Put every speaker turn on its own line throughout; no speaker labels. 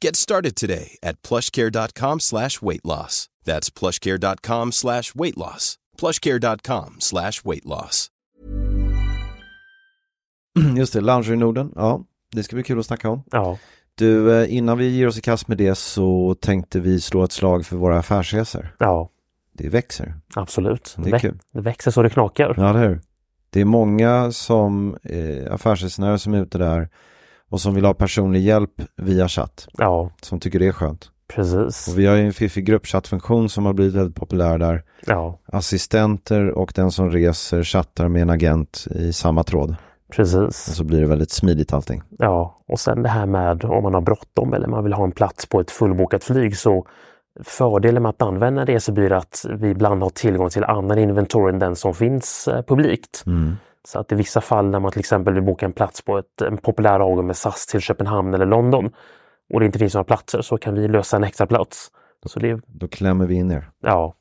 Get started today at plushcare.com slash weight loss. That's plushcare.com slash weight loss. Plushcare.com slash weight loss.
Mm, Just det, Lounge i Norden, ja, det ska bli kul att snacka om.
Ja.
Du, eh, innan vi ger oss i kast med det så tänkte vi slå ett slag för våra affärsresor.
Ja,
Det växer.
absolut.
Det är
Vä-
kul.
Det växer så det knakar.
Ja, eller hur? Det är många som eh, affärsresenärer som är ute där och som vill ha personlig hjälp via chatt,
Ja,
som tycker det är skönt.
precis.
Och vi har ju en fiffig gruppchattfunktion som har blivit väldigt populär där.
Ja,
Assistenter och den som reser chattar med en agent i samma tråd.
precis.
Så blir det väldigt smidigt allting.
Ja, och sen det här med om man har bråttom eller man vill ha en plats på ett fullbokat flyg så fördelen med att använda resebyr är att vi ibland har tillgång till annan inventory än den som finns eh, publikt.
Mm.
Så att i vissa fall när man till exempel vill boka en plats på ett, en populär avgång med SAS till Köpenhamn eller London och det inte finns några platser så kan vi lösa en extra plats. Så det,
Då klämmer vi in er.
ja,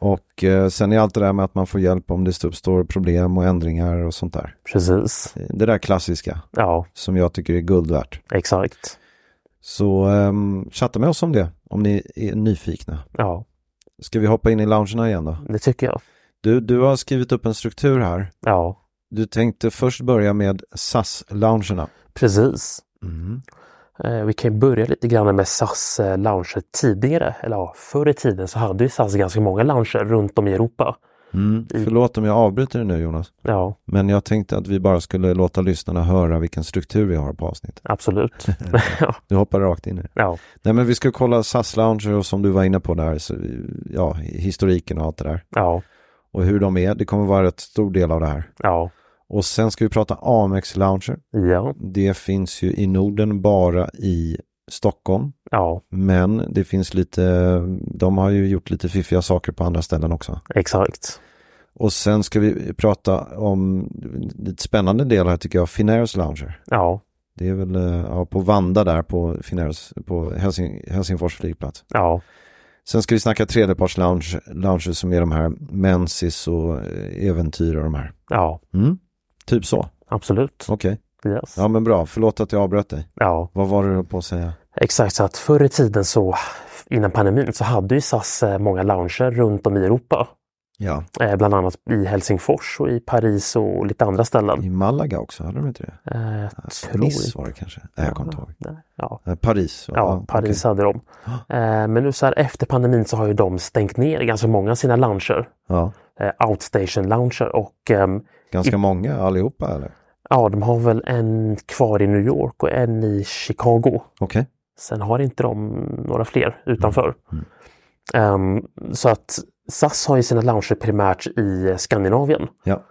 Och eh, sen är allt det där med att man får hjälp om det uppstår problem och ändringar och sånt där.
precis.
Det där klassiska
Ja,
som jag tycker är guld värt.
exakt.
Så ehm, chatta med oss om det om ni är nyfikna.
Ja,
Ska vi hoppa in i loungerna igen då?
det tycker jag.
Du, du har skrivit upp en struktur här.
Ja,
Du tänkte först börja med SAS-loungerna.
precis.
Mm.
Eh, Vi kan ju börja lite grann med SAS eh, lounger tidigare. Eller ja, förr i tiden så hade ju SAS ganska många lounger runt om i Europa.
Mm. Förlåt om jag avbryter dig nu Jonas.
Ja,
Men jag tänkte att vi bara skulle låta lyssnarna höra vilken struktur vi har på avsnittet.
absolut. ja,
Du hoppar rakt in i det.
ja,
Nej men vi ska kolla SAS-lounger och som du var inne på där, så, ja, historiken och allt det där.
ja,
Och hur de är, det kommer vara ett stor del av det här.
ja,
Och sen ska vi prata Amex-lounger.
ja,
Det finns ju i Norden bara i Stockholm.
ja,
Men det finns lite, de har ju gjort lite fiffiga saker på andra ställen också.
exakt.
Och sen ska vi prata om lite spännande del här tycker jag, Finnairs Lounger.
Ja,
Det är väl eh, ja, på Vanda där på, Finnairs, på Helsing, Helsingfors flygplats.
ja,
Sen ska vi snacka tredjeparts lounge, lounges som är de här Mensis och eh, Äventyr och de här.
ja,
Mm. Typ så,
absolut.
okej.
Yes.
Ja men bra, förlåt att jag avbröt dig.
Ja,
Vad var du på att säga?
exakt. Så att förr i tiden så innan pandemin så hade ju SAS eh, många lounger runt om i Europa.
Ja,
Eh, Bland annat i Helsingfors och i Paris och lite andra ställen.
i Malaga också, hade de inte det?
Eh, Jag tror
Nice var det kanske? Nej, jag kommer inte ihåg.
inte. Ja,
Eh, Paris? va?
Ja, Paris
okej.
hade de. Eh, men nu så här efter pandemin så har ju de stängt ner ganska många av sina lounger.
Ja,
Eh, outstation lounger och ehm,
ganska många allihopa eller?
ja, de har väl en kvar i New York och en i Chicago.
Okej,
Sen har inte de några fler utanför.
Mm.
Ehm, så att SAS har ju sina lounger primärt i Skandinavien.
ja.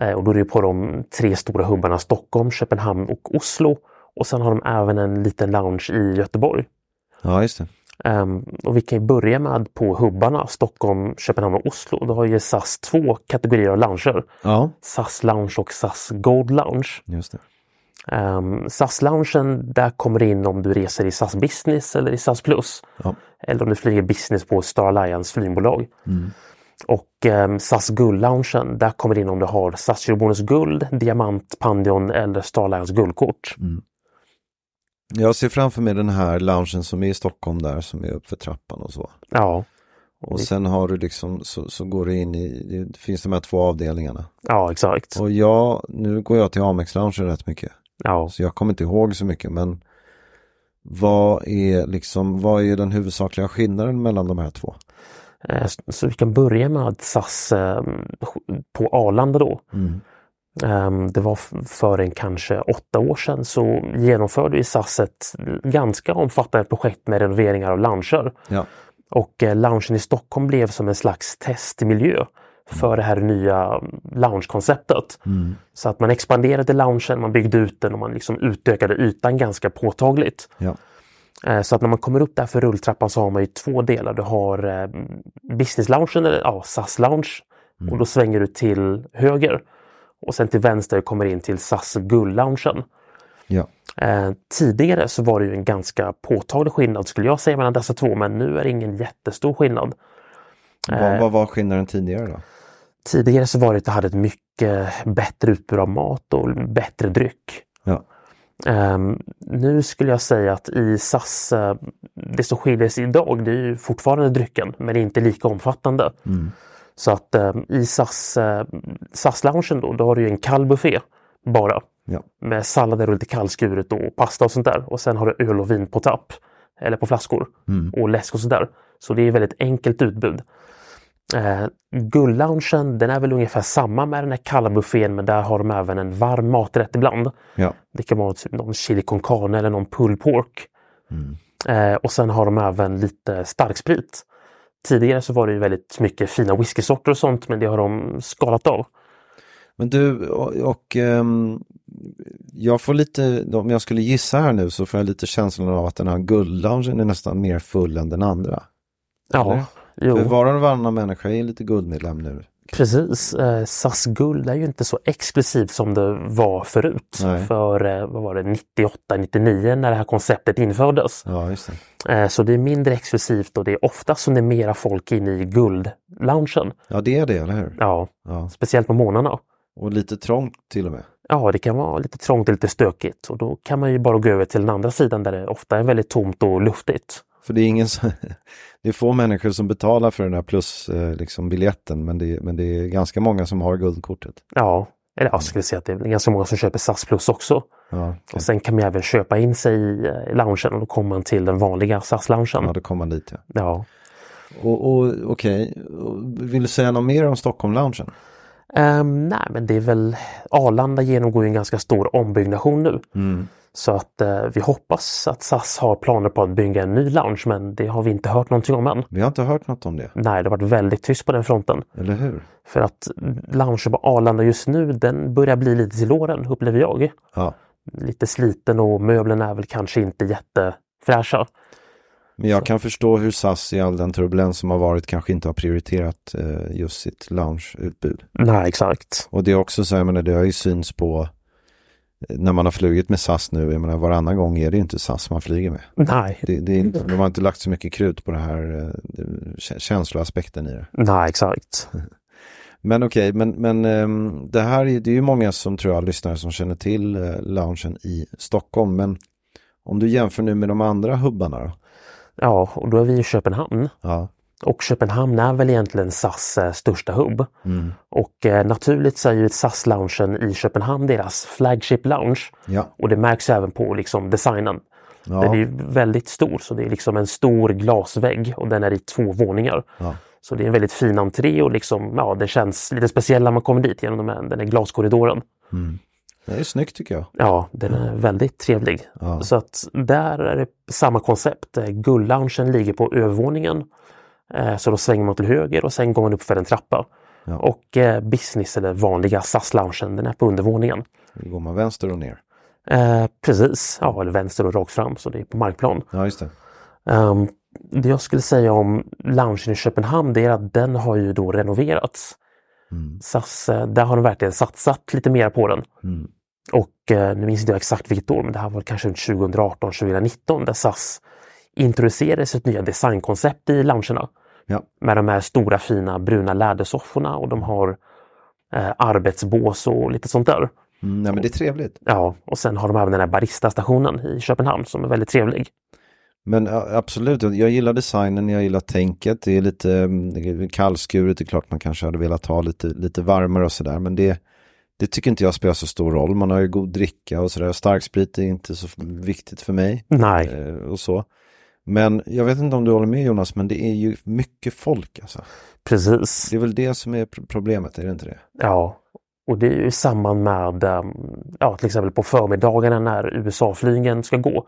Eh, och då är det ju på de tre stora hubbarna Stockholm, Köpenhamn och Oslo. Och sen har de även en liten lounge i Göteborg.
Ja, just det.
Ehm, och vi kan ju börja med på hubbarna Stockholm, Köpenhamn och Oslo. Då har ju SAS två kategorier av lounger.
Ja,
SAS Lounge och SAS Gold Lounge.
just det.
Ehm, SAS Loungen, där kommer det in om du reser i SAS Business eller i SAS Plus.
Ja.
Eller om du flyger business på Star Alliance flygbolag. Och eh, SAS Guld-loungen, där kommer det in om du har SAS Eurobonus Guld, Diamant, Pandion eller Starlines guldkort.
Jag ser framför mig den här loungen som är i Stockholm där som är uppför trappan och så.
Ja,
Och sen har du liksom så, så går du in i, det finns de här två avdelningarna.
ja exakt.
Och jag, nu går jag till Amex-loungen rätt mycket.
Ja.
Så jag kommer inte ihåg så mycket men vad är liksom, vad är den huvudsakliga skillnaden mellan de här två?
Eh, s- Så vi kan börja med att SAS eh, på Arlanda då. Ehm, Det var f- för en kanske åtta år sedan så genomförde ju SAS ett ganska omfattande projekt med renoveringar av lounger.
Ja,
Och eh, loungen i Stockholm blev som en slags testmiljö för det här nya ehm, loungekonceptet. Så att man expanderade loungen, man byggde ut den och man liksom utökade ytan ganska påtagligt.
ja,
Eh, Så att när man kommer upp där för rulltrappan så har man ju två delar. Du har eh, business-loungen, eller ja, SAS-lounge. Och då svänger du till höger. Och sen till vänster kommer in till SAS Gull-loungen.
ja.
Eh, tidigare så var det ju en ganska påtaglig skillnad skulle jag säga mellan dessa två, men nu är det ingen jättestor skillnad.
Vad, vad var skillnaden tidigare då?
Tidigare så var det att du hade ett mycket bättre utbud av mat och bättre dryck.
Ja,
Ehm, nu skulle jag säga att i SAS, eh, det som skiljer sig idag, det är ju fortfarande drycken, men det är inte lika omfattande. Så att ehm, i SAS, eh, SAS-loungen då, då har du ju en kall buffé bara.
ja,
Med sallader och lite kallskuret och pasta och sånt där. Och sen har du öl och vin på tapp. Eller på flaskor. Och läsk och sådär. Så det är väldigt enkelt utbud. Eh, Guldloungen, den är väl ungefär samma med den här kalla buffén men där har de även en varm maträtt ibland.
ja,
Det kan vara typ någon chili con carne eller någon pulled pork. Eh, och sen har de även lite starksprit. Tidigare så var det ju väldigt mycket fina whiskysorter och sånt men det har de skalat av.
Men du, och, och ehm, jag får lite, om jag skulle gissa här nu så får jag lite känslan av att den här guldloungen är nästan mer full än den andra.
Ja,
Eller?
jo.
För var och varannan människa är lite guldmedlem nu.
Precis. Eh, SAS Guld är ju inte så exklusivt som det var förut.
Nej.
För eh, vad var det, 98-99 när det här konceptet infördes.
Ja, just det.
Eh, så det är mindre exklusivt och det är ofta som det är mera folk inne i guldloungen.
Ja, det är det, eller hur?
Ja,
Ja.
speciellt på morgnarna.
Och lite trångt till och med.
Ja, det kan vara lite trångt och lite stökigt och då kan man ju bara gå över till den andra sidan där det ofta är väldigt tomt och luftigt.
För det är ingen som, det är få människor som betalar för den här plus eh, liksom biljetten men det, men det är ganska många som har guldkortet.
Ja, eller jag skulle säga att det är ganska många som köper SAS Plus också.
Ja, okej.
Och sen kan man ju även köpa in sig i eh, loungen och då kommer man till den vanliga SAS-loungen.
ja då kommer man dit ja.
Ja.
Och, och okej, Och vill du säga något mer om Stockholm-loungen?
Ehm, nej, men det är väl Arlanda genomgår ju en ganska stor ombyggnation nu. Så att eh, vi hoppas att SAS har planer på att bygga en ny lounge, men det har vi inte hört någonting om än.
Vi har inte hört något om det,
Nej, det har varit väldigt tyst på den fronten.
eller hur?
För att mm, loungen på Arlanda just nu, den börjar bli lite till åren, upplever jag.
Ja,
Lite sliten och möblerna är väl kanske inte jättefräscha.
men jag kan förstå hur SAS i all den turbulens som har varit kanske inte har prioriterat eh, just sitt loungeutbud.
Nej, exakt.
Och det är också så, jag menar, det har ju syns på eh, när man har flugit med SAS nu, jag menar varannan gång är det ju inte SAS man flyger med.
Nej,
Det, det är inte, de har inte lagt så mycket krut på den här eh, kä- känsloaspekten i det.
nej, exakt.
Men okej, men, men ehm, det här är, det är ju många som tror jag lyssnare som känner till eh, loungen i Stockholm. Men om du jämför nu med de andra hubbarna då?
Ja, och då är vi i Köpenhamn.
Ja,
Och Köpenhamn är väl egentligen SAS eh, största hubb.
Mm.
Och eh, naturligt så är ju SAS-loungen i Köpenhamn deras flagship lounge.
ja,
Och det märks även på liksom, designen. Den är
ja,
ju väldigt stor så det är liksom en stor glasvägg och den är i två våningar.
ja,
Så det är en väldigt fin entré och liksom, ja, det känns lite speciellt när man kommer dit genom de här, den här glaskorridoren.
det är snyggt tycker jag.
Ja, den är väldigt trevlig.
Ja.
Så att där är det samma koncept. Eh, Guldloungen ligger på övervåningen. Eh, Så då svänger man till höger och sen går man upp för en trappa.
Ja.
Och eh, business eller vanliga SAS-loungen, den är på undervåningen.
Då går man vänster och ner.
Eh, precis, ja, eller vänster och rakt fram så det är på markplan.
Ja, just det.
Ehm, det jag skulle säga om loungen i Köpenhamn det är att den har ju då renoverats.
Mm,
SAS, eh, där har de verkligen satsat lite mer på den.
mm.
Och eh, nu minns inte jag exakt vilket år, men det här var kanske runt 2018, 2019 där SAS introducerade sitt nya designkoncept i loungerna.
Ja.
Med de här stora fina bruna lädersofforna och de har eh, arbetsbås och lite sånt där.
Mm, nej, men det är trevligt.
Ja, och sen har de även den här baristastationen i Köpenhamn som är väldigt trevlig.
Men ja, absolut, jag gillar designen, jag gillar tänket. Det är lite mm, det är kallskuret, det är klart man kanske hade velat ha lite, lite varmare och sådär. Men det, det tycker inte jag spelar så stor roll. Man har ju god dricka och sådär. Starksprit är inte så viktigt för mig.
Nej,
eh, och så. Men jag vet inte om du håller med Jonas, men det är ju mycket folk alltså.
precis.
Det är väl det som är pro- problemet, är det inte det?
Ja, och det är ju i samband med ehm, ja, till exempel på förmiddagarna när USA-flygen ska gå.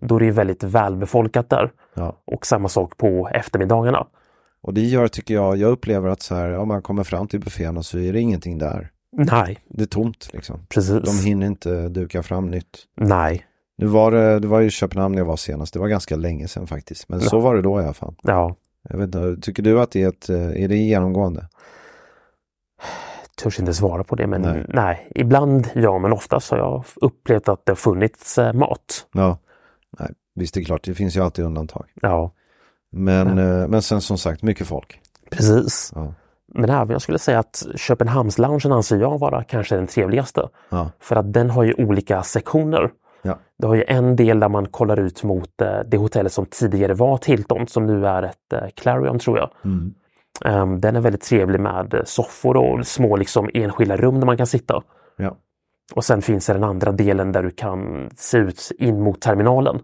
Då är det ju väldigt välbefolkat där.
Ja.
Och samma sak på eftermiddagarna.
Och det gör, tycker jag, jag upplever att så här, om man kommer fram till buffén och så är det ingenting där.
Nej,
Det är tomt liksom.
precis.
De hinner inte duka fram nytt.
Nej,
Nu var det, det var ju Köpenhamn jag var senast, det var ganska länge sedan faktiskt. Men så var det då i alla fall.
ja.
Jag vet inte, tycker du att det är, ett, eh, är det genomgående?
Törs inte svara på det, men
Nej.
nej. Ibland ja, men oftast har jag upplevt att det har funnits eh, mat.
Ja. Nej, visst det är klart, det finns ju alltid undantag.
Ja,
Men, eh, men sen som sagt, mycket folk.
precis.
Ja.
Men även jag skulle säga att Köpenhamnsloungen anser jag vara kanske den trevligaste.
Ja.
För att den har ju olika sektioner.
Ja.
Det har ju en del där man kollar ut mot eh, det hotellet som tidigare var ett Hilton som nu är ett eh, Clarion tror jag.
Mm.
Ehm, Den är väldigt trevlig med eh, soffor och små liksom enskilda rum där man kan sitta.
Ja.
Och sen finns det den andra delen där du kan se ut in mot terminalen.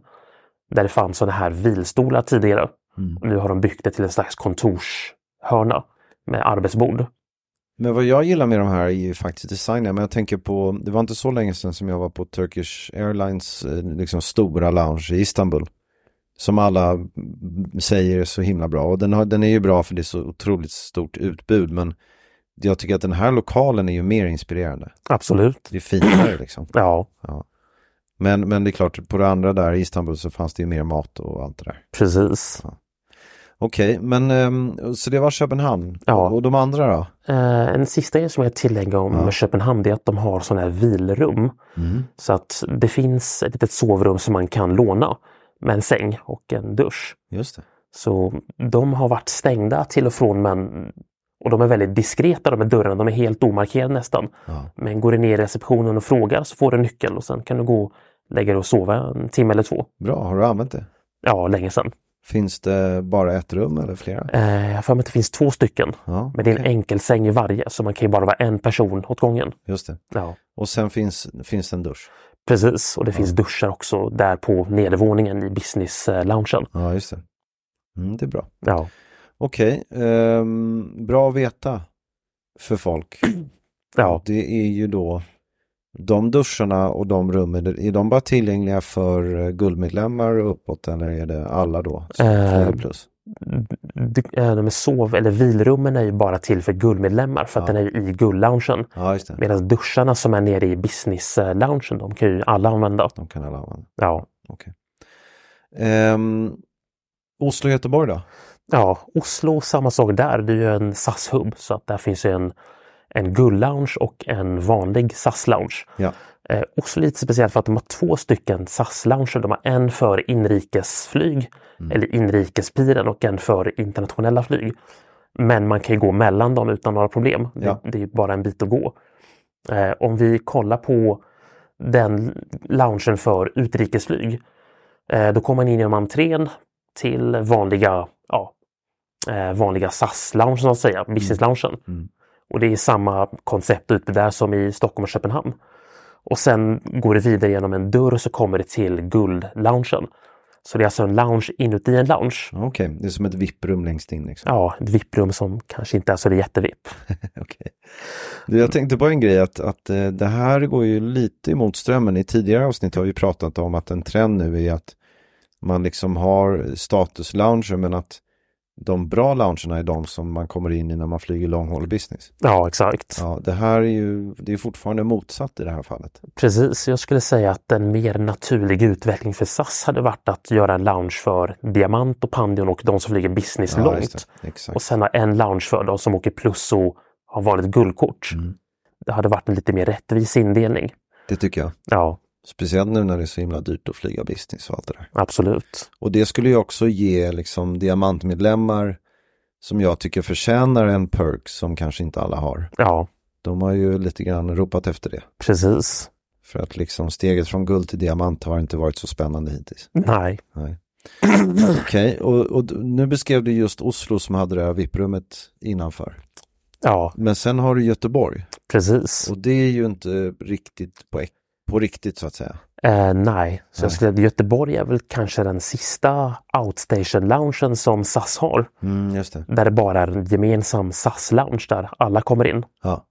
Där det fanns sådana här vilstolar tidigare.
Mm.
Och nu har de byggt det till en slags kontorshörna med arbetsbord.
Men vad jag gillar med de här är ju faktiskt designen. Men jag tänker på, det var inte så länge sedan som jag var på Turkish Airlines eh, liksom stora lounge i Istanbul. Som alla mm, säger är så himla bra. Och den, har, den är ju bra för det är så otroligt stort utbud. Men jag tycker att den här lokalen är ju mer inspirerande.
Absolut.
Det är finare liksom.
Ja,
Men, men det är klart, på det andra där i Istanbul så fanns det ju mer mat och allt det där.
precis.
Okej, men ehm, så det var Köpenhamn.
Ja.
Och de andra då?
Eh, en sista grej som jag tillägger om
Ja.
Köpenhamn det är att de har sådana här vilrum. Så att det finns ett litet sovrum som man kan låna med en säng och en dusch.
Just det.
Så de har varit stängda till och från men och de är väldigt diskreta de här dörrarna, de är helt omarkerade nästan.
Ja.
Men går du ner i receptionen och frågar så får du en nyckel och sen kan du gå och lägga dig och sova en timme eller två.
Bra, har du använt det?
Ja, länge sedan.
Finns det bara ett rum eller flera?
Eh, Jag har för mig att det finns två stycken.
Ja,
Men det är en enkelsäng i varje så man kan ju bara vara en person åt gången.
just det.
Ja.
Och sen finns, finns det en dusch.
Precis, och det finns duschar också där på nedervåningen i business-loungen.
Ja, just det. Mm, det är bra.
Ja,
Okej, ehm, bra att veta för folk.
ja,
Det är ju då de duscharna och de rummen, är de bara tillgängliga för eh, guldmedlemmar och uppåt eller är det alla då? Så
Eh,
12 plus?
D- eh, de är sov eller vilrummen är ju bara till för guldmedlemmar för att
Ja.
den är ju i guldloungen.
Ja, just det.
Medan duscharna som är nere i business-loungen, de kan ju alla använda.
De kan alla använda.
Ja,
Okej. Ehm, Oslo och Göteborg då?
ja Oslo, samma sak där. Det är ju en SAS-hub så att där finns ju en, en guldlounge och en vanlig SAS-lounge.
Ja.
Eh, också lite speciellt för att de har två stycken SAS-lounger. De har en för inrikesflyg, eller inrikespiren, och en för internationella flyg. Men man kan ju gå mellan dem utan några problem.
Ja.
Det, det är bara en bit att gå. Eh, om vi kollar på den loungen för utrikesflyg, eh, då kommer man in genom entrén till vanliga, ja, eh, vanliga SAS-loungen, så att säga, business-loungen. Och det är samma koncept ute där som i Stockholm och Köpenhamn. Och sen går det vidare genom en dörr och så kommer det till guldloungen. Så det är alltså en lounge inuti en lounge.
Ja, Okej, det är som ett VIP-rum längst in liksom.
Ja, ett VIP-rum som kanske inte är så det är jättevipp.
Okej. Du, jag tänkte på en grej att, att eh, det här går ju lite emot strömmen. I tidigare avsnitt har vi pratat om att en trend nu är att man liksom har statuslounger men att de bra loungerna är de som man kommer in i när man flyger long haul business.
Ja, exakt.
Ja, det här är ju, det är fortfarande motsatt i det här fallet.
Precis, jag skulle säga att en mer naturlig utveckling för SAS hade varit att göra en lounge för Diamant och Pandion och de som flyger business
Ja, just
långt.
det. Exakt.
Och sen ha en lounge för de som åker plus och har vanligt guldkort.
Mm.
Det hade varit en lite mer rättvis indelning.
Det tycker jag.
Ja,
Speciellt nu när det är så himla dyrt att flyga business och allt det där.
absolut.
Och det skulle ju också ge liksom diamantmedlemmar som jag tycker förtjänar en perk som kanske inte alla har.
Ja,
De har ju lite grann ropat efter det.
precis.
För att liksom steget från guld till diamant har inte varit så spännande hittills.
Nej,
Nej. Okej, och, och d- nu beskrev du just Oslo som hade det här VIP-rummet innanför.
ja,
Men sen har du Göteborg
precis.
och det är ju inte riktigt på, ek- på riktigt så att säga.
Eh, nej, så jag
Nej.
skulle, Göteborg är väl kanske den sista outstation-loungen som SAS har.
Mm, just det.
Där det bara är en gemensam SAS-lounge där alla kommer in.
Ja.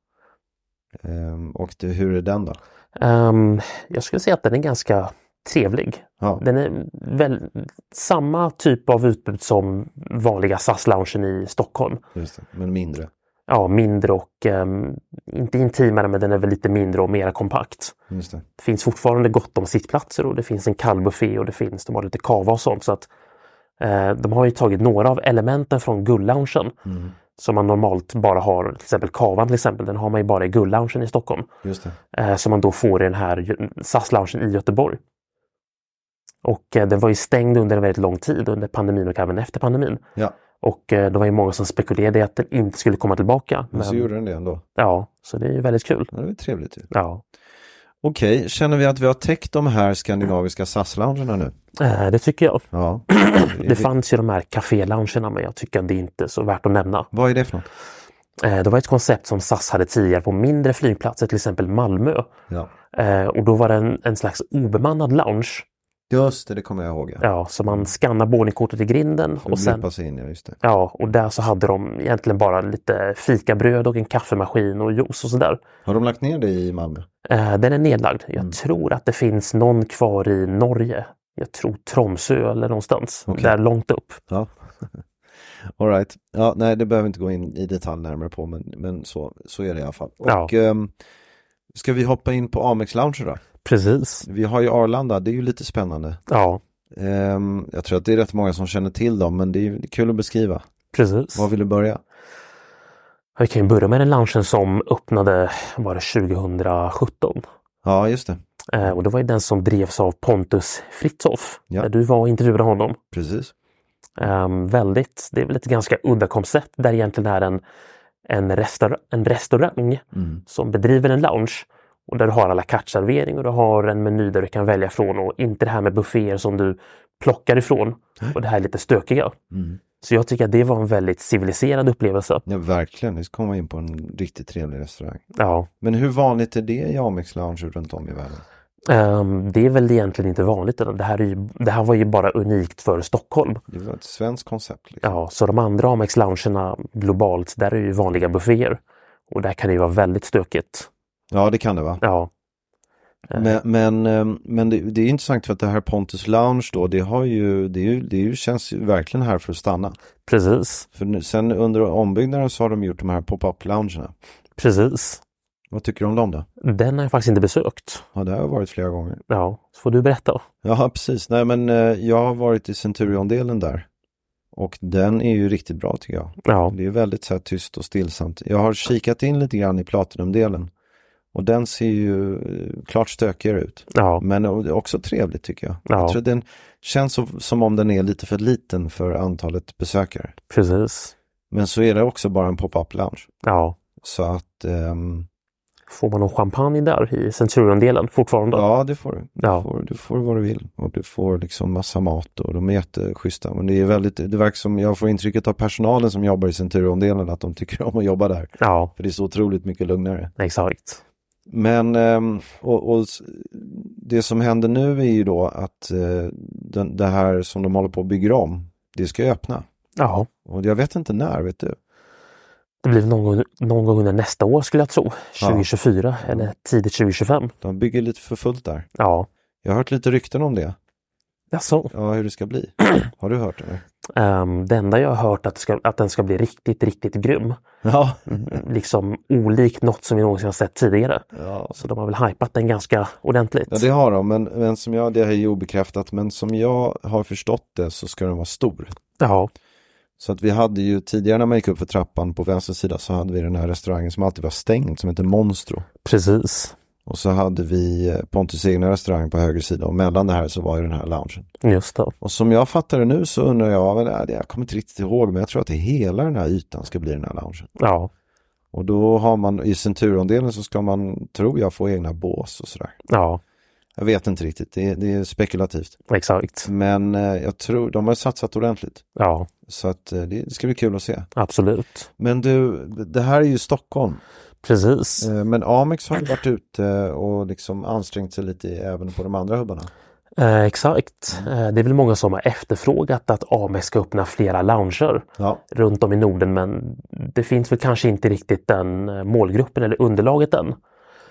Ehm, och det, hur är den då?
Ehm, jag skulle säga att den är ganska trevlig.
Ja,
Den är väl samma typ av utbud som vanliga SAS-loungen i Stockholm.
just det. Men mindre.
Ja, mindre och ehm, inte intimare, men den är väl lite mindre och mer kompakt.
Just det.
Det finns fortfarande gott om sittplatser och det finns en kall buffé och det finns, de har lite kava och sånt. Så att, eh, de har ju tagit några av elementen från guldloungen
Mm,
som man normalt bara har, till exempel kavan till exempel, den har man ju bara i guldloungen i Stockholm.
just det.
eh, som man då får i den här Gö- SAS-loungen i Göteborg. Och eh, den var ju stängd under en väldigt lång tid, under pandemin och även efter pandemin.
Ja,
Och eh, det var ju många som spekulerade i att den inte skulle komma tillbaka.
men så gjorde den det ändå.
Ja, så det är ju väldigt kul.
Ja, det var trevligt ju.
Ja,
Okej, känner vi att vi har täckt de här skandinaviska SAS-loungerna nu?
eh, det tycker jag.
Ja.
Det fanns ju de här café-loungerna men jag tycker att det är inte så värt att nämna.
Vad är det för något?
Eh, Det var ett koncept som SAS hade tidigare på mindre flygplatser, till exempel Malmö.
Ja.
Eh, Och då var det en, en slags obemannad lounge.
Just det, det kommer jag ihåg. Ja.
Ja, så man skannar boardingkortet i grinden
Och
och sen...
sig in, ja, just det.
Ja, och där så hade de egentligen bara lite fikabröd och en kaffemaskin och juice och sådär.
Har de lagt ner det i Malmö?
Eh, Den är nedlagd. Jag
Mm.
tror att det finns någon kvar i Norge. Jag tror Tromsö eller någonstans.
Okej.
Där långt upp.
Ja. All right. Ja, nej, det behöver vi inte gå in i detalj närmare på, men, men så, så är det i alla fall. Och
Ja.
ehm, ska vi hoppa in på Amex Lounge då?
Precis.
Vi har ju Arlanda, det är ju lite spännande.
Ja,
Ehm, jag tror att det är rätt många som känner till dem, men det är ju kul att beskriva.
precis.
Var vill du börja?
Vi kan ju börja med den loungen som öppnade var det 2017.
Ja, just det.
Eh, och det var ju den som drevs av Pontus Fritzhoff.
Ja.
Där du var och intervjuade honom.
Precis.
Ehm, väldigt, det är väl ett ganska udda koncept där egentligen är en, en, restaur- en restaurang
Mm.
som bedriver en lounge. Och där du har alla servering och du har en meny där du kan välja från och inte det här med bufféer som du plockar ifrån. Och det här är lite stökiga.
Mm.
Så jag tycker att det var en väldigt civiliserad upplevelse.
Ja, verkligen. Nu ska man in på en riktigt trevlig restaurang.
Ja.
Men hur vanligt är det i Amex Lounge runt om i världen?
Ehm, det är väl egentligen inte vanligt. utan Det här, är ju, det här var ju bara unikt för Stockholm.
Det var ett svenskt koncept. Liksom.
Ja, så de andra Amex-loungerna globalt, där är ju vanliga bufféer. Och där kan det ju vara väldigt stökigt.
Ja, det kan det va?
Ja,
Men, men, ehm, men det, det är intressant för att det här Pontus Lounge då, det, har ju, det, är ju, det är ju, känns ju verkligen här för att stanna.
precis.
För nu, sen under ombyggnaden så har de gjort de här pop-up loungerna.
Precis.
Vad tycker du om dem då?
Den har jag faktiskt inte besökt.
Ja, det har jag varit flera gånger.
Ja, så får du berätta.
Ja, precis. Nej, men eh, jag har varit i Centurion-delen där. Och den är ju riktigt bra tycker jag.
Ja,
Det är väldigt så här tyst och stillsamt. Jag har kikat in lite grann i Platinum-delen. Och den ser ju eh, klart stökigare ut.
ja,
Men o- också trevligt tycker jag.
Ja.
Jag tror den känns som, som om den är lite för liten för antalet besökare.
precis.
Men så är det också bara en pop-up lounge.
Ja.
Så att ehm,
Får man någon champagne där i Centurion-delen fortfarande?
ja, det får du. Du,
Mm. Ja.
får, du får vad du vill. Och du får liksom massa mat och de är jätteschyssta. Men det är väldigt, det verkar som, jag får intrycket av personalen som jobbar i Centurion-delen att de tycker om att jobba där.
Ja,
För det är så otroligt mycket lugnare.
exakt.
Men ehm, och, och s- det som händer nu är ju då att eh, den, det här som de håller på och bygger om, det ska ju öppna.
Ja,
Och jag vet inte när, vet du?
det blir någon, gång- någon gång under nästa år skulle jag tro. 2024 eller tidigt 2025.
De bygger lite för fullt där.
Ja,
Jag har hört lite rykten om det,
alltså.
ja, hur det ska bli. Har du hört det?
Um, det enda jag har hört att, ska, att den ska bli riktigt, riktigt grym.
Ja.
Liksom olikt något som vi någonsin har sett tidigare.
Ja.
Så de har väl hypat den ganska ordentligt.
ja, det har de, men, men som jag, det är ju obekräftat, men som jag har förstått det så ska den vara stor.
Ja,
Så att vi hade ju tidigare när man gick upp för trappan på vänster sida så hade vi den här restaurangen som alltid var stängd som heter Monstro.
precis.
Och så hade vi eh, Pontus egna restaurang på höger sida och mellan det här så var ju den här loungen.
Just det.
Och som jag fattar det nu så undrar jag, men, äh, jag kommer inte riktigt ihåg, men jag tror att det hela den här ytan ska bli den här loungen.
Ja,
Och då har man i Centurondelen så ska man, tror jag, få egna bås och sådär.
ja,
Jag vet inte riktigt, det är, det är spekulativt.
exakt.
Men eh, jag tror, de har satsat ordentligt.
Ja,
Så att eh, det, det ska bli kul att se.
absolut.
Men du, det här är ju Stockholm.
Precis.
Eh, Men Amex har ju varit ute och liksom ansträngt sig lite i- även på de andra hubbarna.
Eh, exakt. Eh, det är väl många som har efterfrågat att Amex ska öppna flera lounger
Ja,
runt om i Norden men det finns väl kanske inte riktigt den eh, målgruppen eller underlaget än.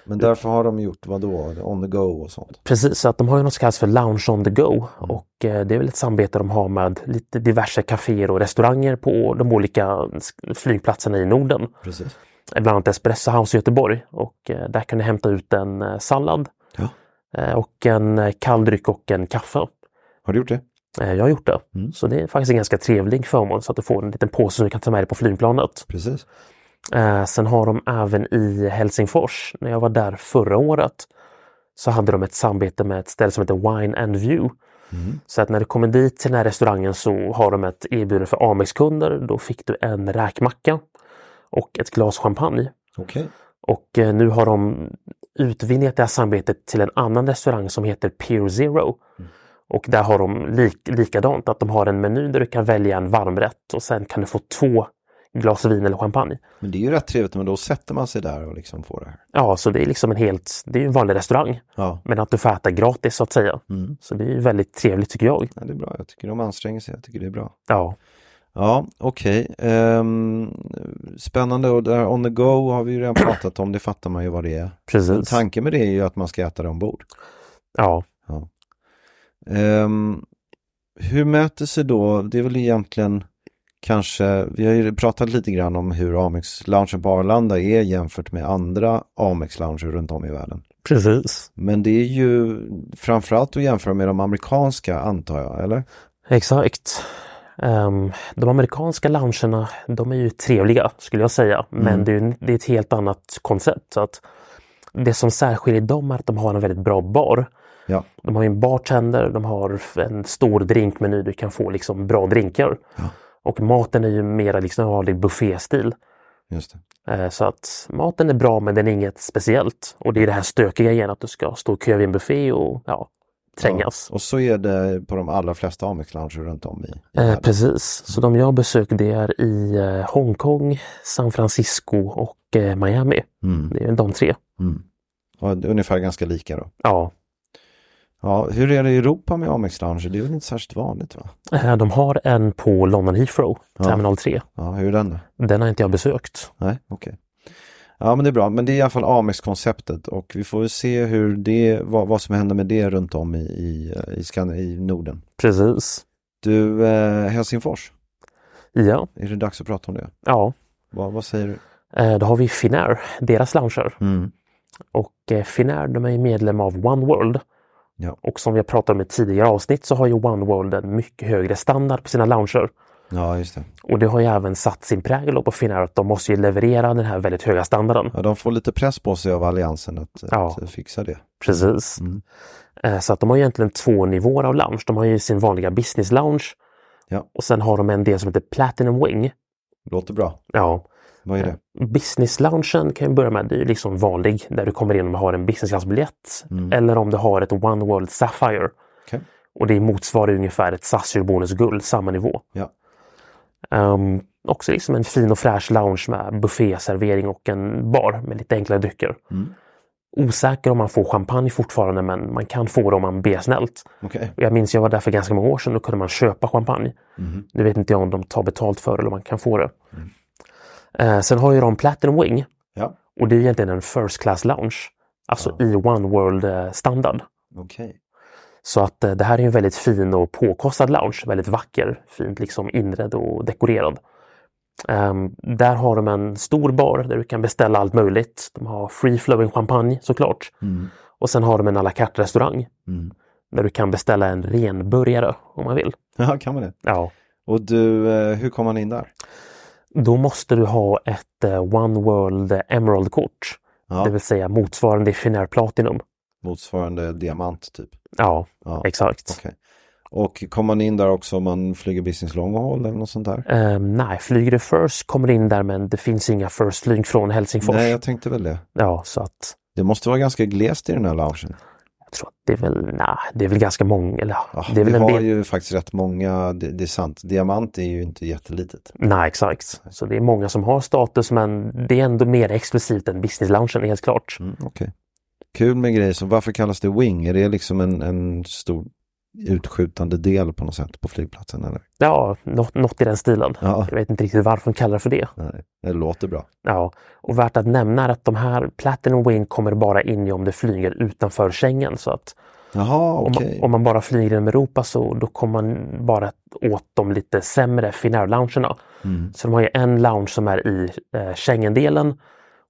men därför har de gjort vad då? On the go och sånt.
Precis, så att de har ju något som kallas för Lounge on the go
Mm.
och eh, det är väl ett samarbete de har med lite diverse kaféer och restauranger på de olika sk- flygplatserna i Norden.
Precis.
Bland annat Espresso House i Göteborg och eh, där kan ni hämta ut en eh, sallad
Ja.
eh, och en eh, kall dryck och en kaffe.
Har du gjort det?
Eh, Jag har gjort det.
Mm.
Så det är faktiskt en ganska trevlig förmån så att du får en liten påse som du kan ta med dig på flygplanet.
Precis.
Eh, sen har de även i Helsingfors, när jag var där förra året, så hade de ett samarbete med ett ställe som heter Wine and View. Så att när du kommer dit till den här restaurangen så har de ett erbjudande för Amex-kunder. Då fick du en räkmacka och ett glas champagne.
Okej.
Och eh, nu har de utvidgat det här samarbetet till en annan restaurang som heter Pier Zero. Och där har de lik, likadant, att de har en meny där du kan välja en varmrätt och sen kan du få två glas vin eller champagne.
Men det är ju rätt trevligt, men då sätter man sig där och liksom får det här.
Ja, så det är liksom en helt, det är ju en vanlig restaurang,
Ja,
men att du får äta gratis så att säga.
Mm.
Så det är ju väldigt trevligt tycker jag.
ja det är bra. Jag tycker de anstränger sig. Jag tycker det är bra.
Ja,
Ja, okej. Ehm, spännande. Och där on the go har vi ju redan pratat om. Det fattar man ju vad det är.
precis.
Tanken med det är ju att man ska äta det ombord.
Ja,
Ehm, hur möter sig då, det är väl egentligen kanske, vi har ju pratat lite grann om hur Amex-loungen på Arlanda är jämfört med andra Amex-lounger runt om i världen.
precis.
Men det är ju framförallt att jämföra med de amerikanska antar jag, eller?
Exakt. Ehm, de amerikanska loungerna, de är ju trevliga skulle jag säga, men det är, ju- det är ett helt annat koncept. Så att det som särskiljer dem är att de har en väldigt bra bar.
Ja,
De har ju en bartender, de har en stor drinkmeny, du kan få liksom bra drinkar. Och maten är ju mera liksom vanlig bufféstil.
just det.
Eh, Så att maten är bra men den är inget speciellt. Och det är det här stökiga igen att du ska stå i kö vid en buffé och ja, trängas.
Ja. Och så är det på de allra flesta Amex-lounger runt om i, i
Eh,
världen.
precis, så de jag besökt det är i eh, Hongkong, San Francisco och eh, Miami.
Mm.
Det är de tre.
Och det är ungefär ganska lika då.
Ja,
Ja, hur är det i Europa med Amex-lounger? Det är väl inte särskilt vanligt va?
eh, de har en på London Heathrow,
Ja.
Terminal 3.
Ja, hur är den då?
Den har inte jag besökt.
Nej, okej. Ja, men det är bra. Men det är i alla fall Amex-konceptet och vi får väl se hur det, vad, vad som händer med det runt om i, i, i, Skan- i Norden.
Precis.
Du, eh, Helsingfors,
Ja,
är det dags att prata om det?
ja.
Vad, vad säger du?
Eh, Då har vi Finnair, deras lounger.
Mm.
Och eh, Finnair de är ju medlem av One World.
Ja.
Och som vi har pratat om i tidigare avsnitt så har ju One World en mycket högre standard på sina lounger.
Ja, just det.
Och det har ju även satt sin prägel på Finnair att de måste ju leverera den här väldigt höga standarden.
Ja, de får lite press på sig av Alliansen att,
Ja.
att fixa det.
Precis.
Mm.
Eh, Så att de har egentligen två nivåer av lounge. De har ju sin vanliga business lounge
Ja.
och sen har de en del som heter Platinum Wing.
Låter bra.
Ja.
Vad är det?
Business loungen kan jag börja med, det är ju liksom vanlig där du kommer in och har en business class-biljett eller om du har ett One World Sapphire.
Okej.
Och det motsvarar ungefär ett SAS Bonus Guld, samma nivå.
Ja.
Ehm, också liksom en fin och fräsch lounge med bufféservering och en bar med lite enklare drycker. Osäker om man får champagne fortfarande men man kan få det om man ber snällt.
Okej.
Och jag minns jag var där för ganska många år sedan, då kunde man köpa champagne. Nu vet inte jag om de tar betalt för det eller om man kan få det. Eh, sen har ju de Platinum Wing
Ja,
och det är egentligen en First Class Lounge. Alltså i One World eh, standard.
okej.
Så att eh, det här är ju en väldigt fin och påkostad lounge. Väldigt vacker, fint liksom inredd och dekorerad. Ehm, där har de en stor bar där du kan beställa allt möjligt. De har free flowing champagne såklart. Och sen har de en à la carte restaurang. Där du kan beställa en renburgare om man vill.
Ja, kan man det?
Ja.
Och du, eh, hur kom man in där?
Då måste du ha ett eh, One World Emerald-kort.
Ja.
Det vill säga motsvarande Finnair Platinum.
Motsvarande diamant typ.
Ja,
Ja,
exakt.
okej. Och kommer man in där också om man flyger business long haul eller något sånt där?
Ehm, nej, flyger du first kommer in där men det finns inga first-flyg från Helsingfors.
Nej, jag tänkte väl det.
Ja, så att
Det måste vara ganska glest i den här loungen.
jag tror att det är väl, nej, det är väl ganska många, eller
Ja,
ja, det är väl
vi
en
har
del.
ju faktiskt rätt många, det, det är sant, diamant är ju inte jättelitet.
Nej, exakt. Så det är många som har status men det är ändå mer exklusivt än business-loungen helt klart.
Mm, okej. Kul med grejer som, varför kallas det wing? Är det liksom en, en stor utskjutande del på något sätt på flygplatsen? Eller?
Ja, något, något i den stilen.
Ja.
Jag vet inte riktigt varför de kallar det för det.
Nej, det låter bra.
Ja, och värt att nämna är att de här Platinum Wing kommer bara in i om det flyger utanför Schengen. Så att
Jaha,
om,
okej.
om man bara flyger inom Europa så då kommer man bara åt de lite sämre Finnair-loungerna. Så de har ju en lounge som är i eh, Schengen-delen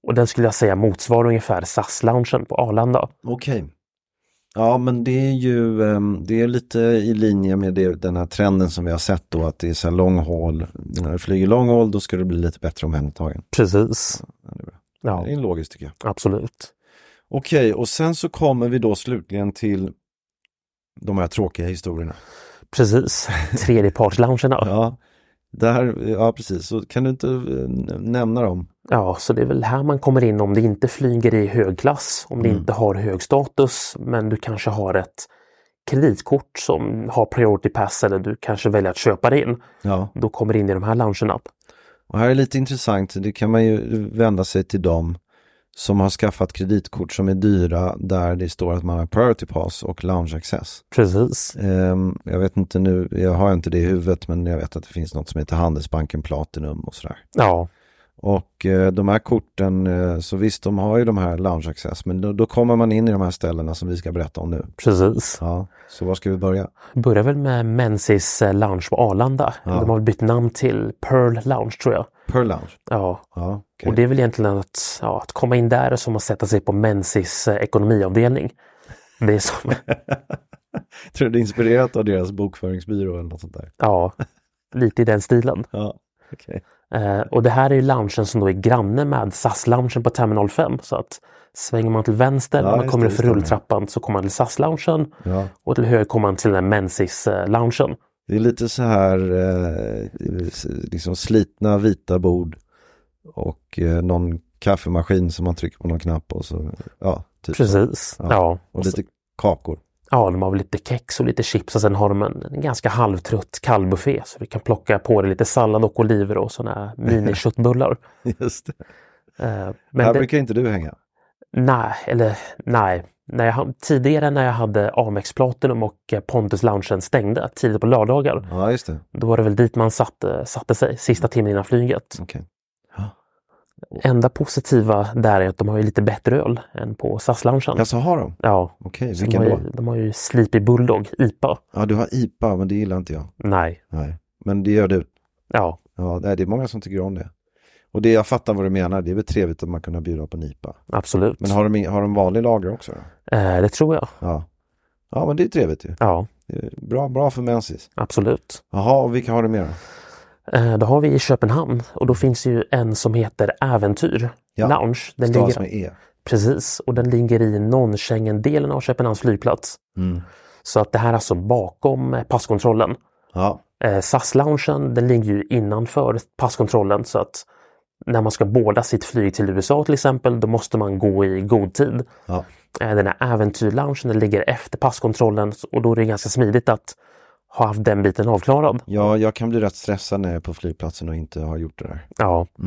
och den skulle jag säga motsvarar ungefär SAS-loungen på Arlanda.
Okej. Ja, men det är ju ehm, det är lite i linje med det, den här trenden som vi har sett då att det är så här long haul. När du flyger long haul då ska det bli lite bättre omhändertagen.
Precis. Ja,
Det är logiskt tycker jag.
absolut.
Okej, och sen så kommer vi då slutligen till de här tråkiga historierna.
Precis. Tredjeparts-loungerna. ja.
Ja, där, ja precis. Så kan du inte eh, nämna dem?
ja, så det är väl här man kommer in om det inte flyger i hög klass, om det inte har hög status, men du kanske har ett kreditkort som har priority pass eller du kanske väljer att köpa det in.
Ja.
Då kommer det in i de här loungerna.
Och här är lite intressant, det kan man ju vända sig till dem som har skaffat kreditkort som är dyra där det står att man har priority pass och lounge access.
Precis.
Ehm, jag vet inte nu, jag har inte det i huvudet men jag vet att det finns något som heter Handelsbanken Platinum och sådär.
Ja,
Och eh, de här korten, eh, så visst de har ju de här lounge access men då, då kommer man in i de här ställena som vi ska berätta om nu.
precis.
Ja, så var ska vi börja?
Börjar väl med Mensis eh, Lounge på Arlanda. De har bytt namn till Pearl Lounge tror jag.
Pearl Lounge.
Ja,
Ja, okej.
och det är väl egentligen att, ja, att komma in där är som att sätta sig på Mensis eh, ekonomiavdelning. Det är som,
Tror du det är inspirerat av deras bokföringsbyrå eller något sånt där?
ja, lite i den stilen.
Ja, okej.
Eh, och det här är ju loungen som då är granne med SAS-loungen på Terminal 5. Så att svänger man till vänster
Ja,
när man
just
kommer
det,
upp för
just det.
rulltrappan så kommer man till SAS-loungen
Ja.
och till höger kommer man till den Mensis-loungen.
Det är lite så här eh, s- liksom slitna vita bord och eh, någon kaffemaskin som man trycker på någon knapp och så, ja, typ. så.
Precis.
Ja.
Ja.
Och lite kakor.
Ja, de har väl lite kex och lite chips och sen har de en, en ganska halvtrött kallbuffé så du kan plocka på dig lite sallad och oliver och sådana miniköttbullar.
Just det.
Eh,
Här
Men det,
brukar inte du hänga.
nej, eller nej. När jag, ha- tidigare när jag hade Amex Platinum och eh, Pontus Loungen stängde tidigt på lördagar,
Ja, just det.
då var det väl dit man satte, satte sig sista timmen innan flyget.
Okej.
Enda positiva där är att de har ju lite bättre öl än på SAS-loungen.
Alltså har de?
Ja,
Okej,
så de
vilken
har,
då?
ju, de har ju Sleepy Bulldog, IPA.
Ja, du har IPA, men det gillar inte jag.
Nej,
Nej, men det gör du.
ja,
Ja, nej, det är många som tycker om det. Och det, jag fattar vad du menar, det är väl trevligt att man kunna bjuda på en IPA.
absolut.
Men har de, har de vanlig lager också? Då?
Eh, det tror jag.
Ja. ja, men det är trevligt ju.
Ja,
Det är Bra, bra för Mensis.
absolut.
Jaha, och vilka har du mer då?
Eh, Då har vi i Köpenhamn och då finns ju en som heter Äventyr
Ja,
Lounge. Den
Stavas
ligger,
med E.
Precis, och den ligger i non-Schengen-delen av Köpenhamns flygplats.
Mm.
Så att det här är alltså bakom eh, passkontrollen.
Ja,
Eh, SAS-loungen den ligger ju innanför passkontrollen så att när man ska båda sitt flyg till USA till exempel då måste man gå i god tid.
ja.
Eh, Den här äventyr den ligger efter passkontrollen och då är det ganska smidigt att ha haft den biten avklarad.
ja, jag kan bli rätt stressad när jag är på flygplatsen och inte har gjort det där. Mm.
Ja.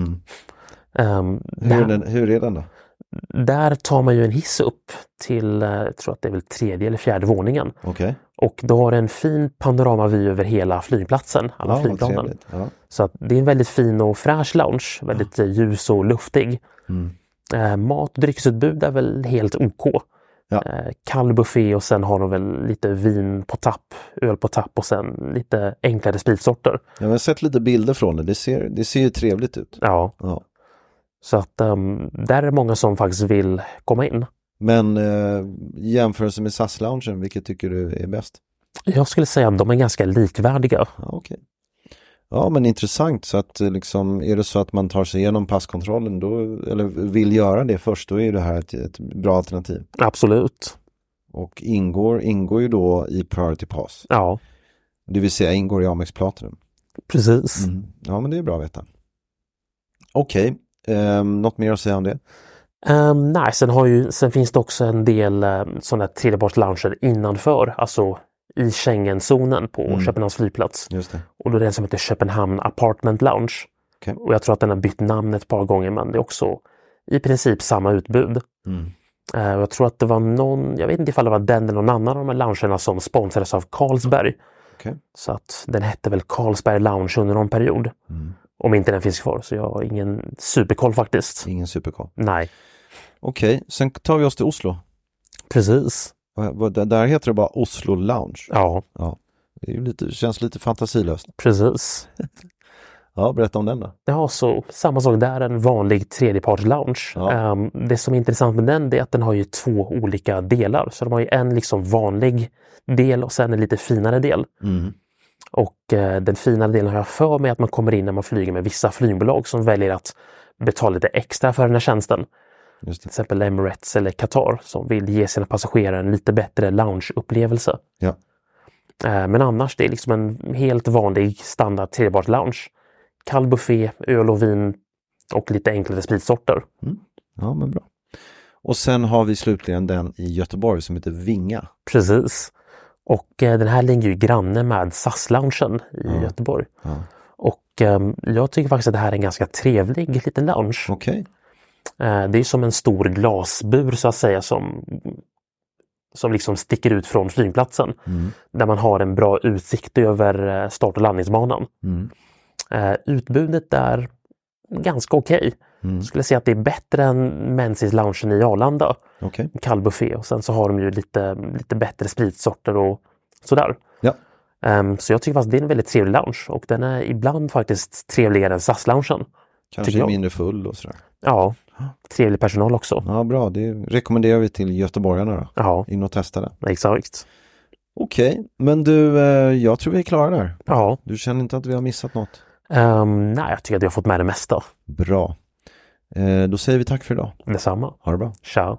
Ehm,
Hur, är den, hur är den då?
Där tar man ju en hiss upp till, eh, jag tror att det är väl tredje eller fjärde våningen.
Okej.
Och då har du en fin panoramavy över hela flygplatsen, alla
Ja, vad
flygplanen.
trevligt. Ja.
Så att det är en väldigt fin och fräsch lounge, väldigt eh, ljus och luftig. Eh, mat och dryckesutbud är väl helt OK.
Ja.
Eh, kall buffé och sen har de väl lite vin på tapp, öl på tapp och sen lite enklare spritsorter.
Jag har sett lite bilder från det, det ser, det ser ju trevligt ut.
Ja,
Ja.
så att ehm, där är det många som faktiskt vill komma in.
Men eh, i jämförelse med SAS-loungen, vilket tycker du är bäst?
Jag skulle säga att de är ganska likvärdiga.
Ja, okej. Ja, men intressant. Så att eh, liksom, är det så att man tar sig igenom passkontrollen då, eller vill göra det först, då är det här ett, ett bra alternativ.
Absolut.
Och ingår, ingår ju då i Priority Pass,
Ja,
det vill säga ingår i Amex Platinum.
precis.
Ja, men det är bra att veta. Okej, ehm, något mer att säga om det?
Ehm, nej, sen, har ju, sen finns det också en del um, sådana här tredjepartslaunger innanför, alltså i Schengenzonen på
Mm.
Köpenhamns flygplats.
Just det.
Och då är det en som heter Köpenhamn Apartment Lounge.
Okej.
Och jag tror att den har bytt namn ett par gånger, men det är också i princip samma utbud.
Mm.
Eh, och jag tror att det var någon, jag vet inte ifall det var den eller någon annan av de här loungerna som sponsrades av Carlsberg.
Okej.
Så att den hette väl Carlsberg Lounge under någon period.
Mm.
Om inte den finns kvar, så jag har ingen superkoll faktiskt.
Ingen superkoll.
Nej,
Okej, sen tar vi oss till Oslo.
precis.
Vad- vad- där- Där heter det bara Oslo Lounge.
Ja,
Ja. Det är ju lite, känns lite fantasilöst.
precis.
Ja, berätta om den då.
Ja, så samma sak där, en vanlig tredjepartslounge.
Ja.
Ehm, det som är intressant med den det är att den har ju två olika delar. Så de har ju en liksom vanlig del och sen en lite finare del. Och eh, den finare delen har jag för mig att man kommer in när man flyger med vissa flygbolag som väljer att betala lite extra för den här tjänsten.
Just
Till exempel Emirates eller Qatar som vill ge sina passagerare en lite bättre loungeupplevelse.
Ja.
Eh, Men annars, det är liksom en helt vanlig standard trebart lounge. Kall buffé, öl och vin och lite enklare spritsorter.
Ja, men bra. Och sen har vi slutligen den i Göteborg som heter Vinga.
Precis. Och eh, den här ligger ju granne med SAS-loungen i
Ja.
Göteborg.
Ja.
Och eh, jag tycker faktiskt att det här är en ganska trevlig liten lounge.
Okej,
Eh, Det är som en stor glasbur så att säga som, som liksom sticker ut från flygplatsen. Där man har en bra utsikt över eh, start och landningsbanan.
Mm.
Eh, Utbudet där, ganska okej. Skulle säga att det är bättre än Menzies loungen i Arlanda.
okej.
Kall buffé och sen så har de ju lite, lite bättre spritsorter och sådär.
Ja,
Ehm, Så jag tycker faktiskt det är en väldigt trevlig lounge och den är ibland faktiskt trevligare än SAS-loungen.
kanske
Tycker jag.
mindre full och sådär.
Ja, trevlig personal också.
Ja, bra. Det rekommenderar vi till göteborgarna då.
Ja,
In och testa den.
exakt.
Okej, men du, eh, jag tror vi är klara där.
Ja,
Du känner inte att vi har missat något?
Ehm, nej, jag tycker att jag har fått med det mesta.
Bra. Eh, Då säger vi tack för idag.
Detsamma.
Ha det bra.
Ciao.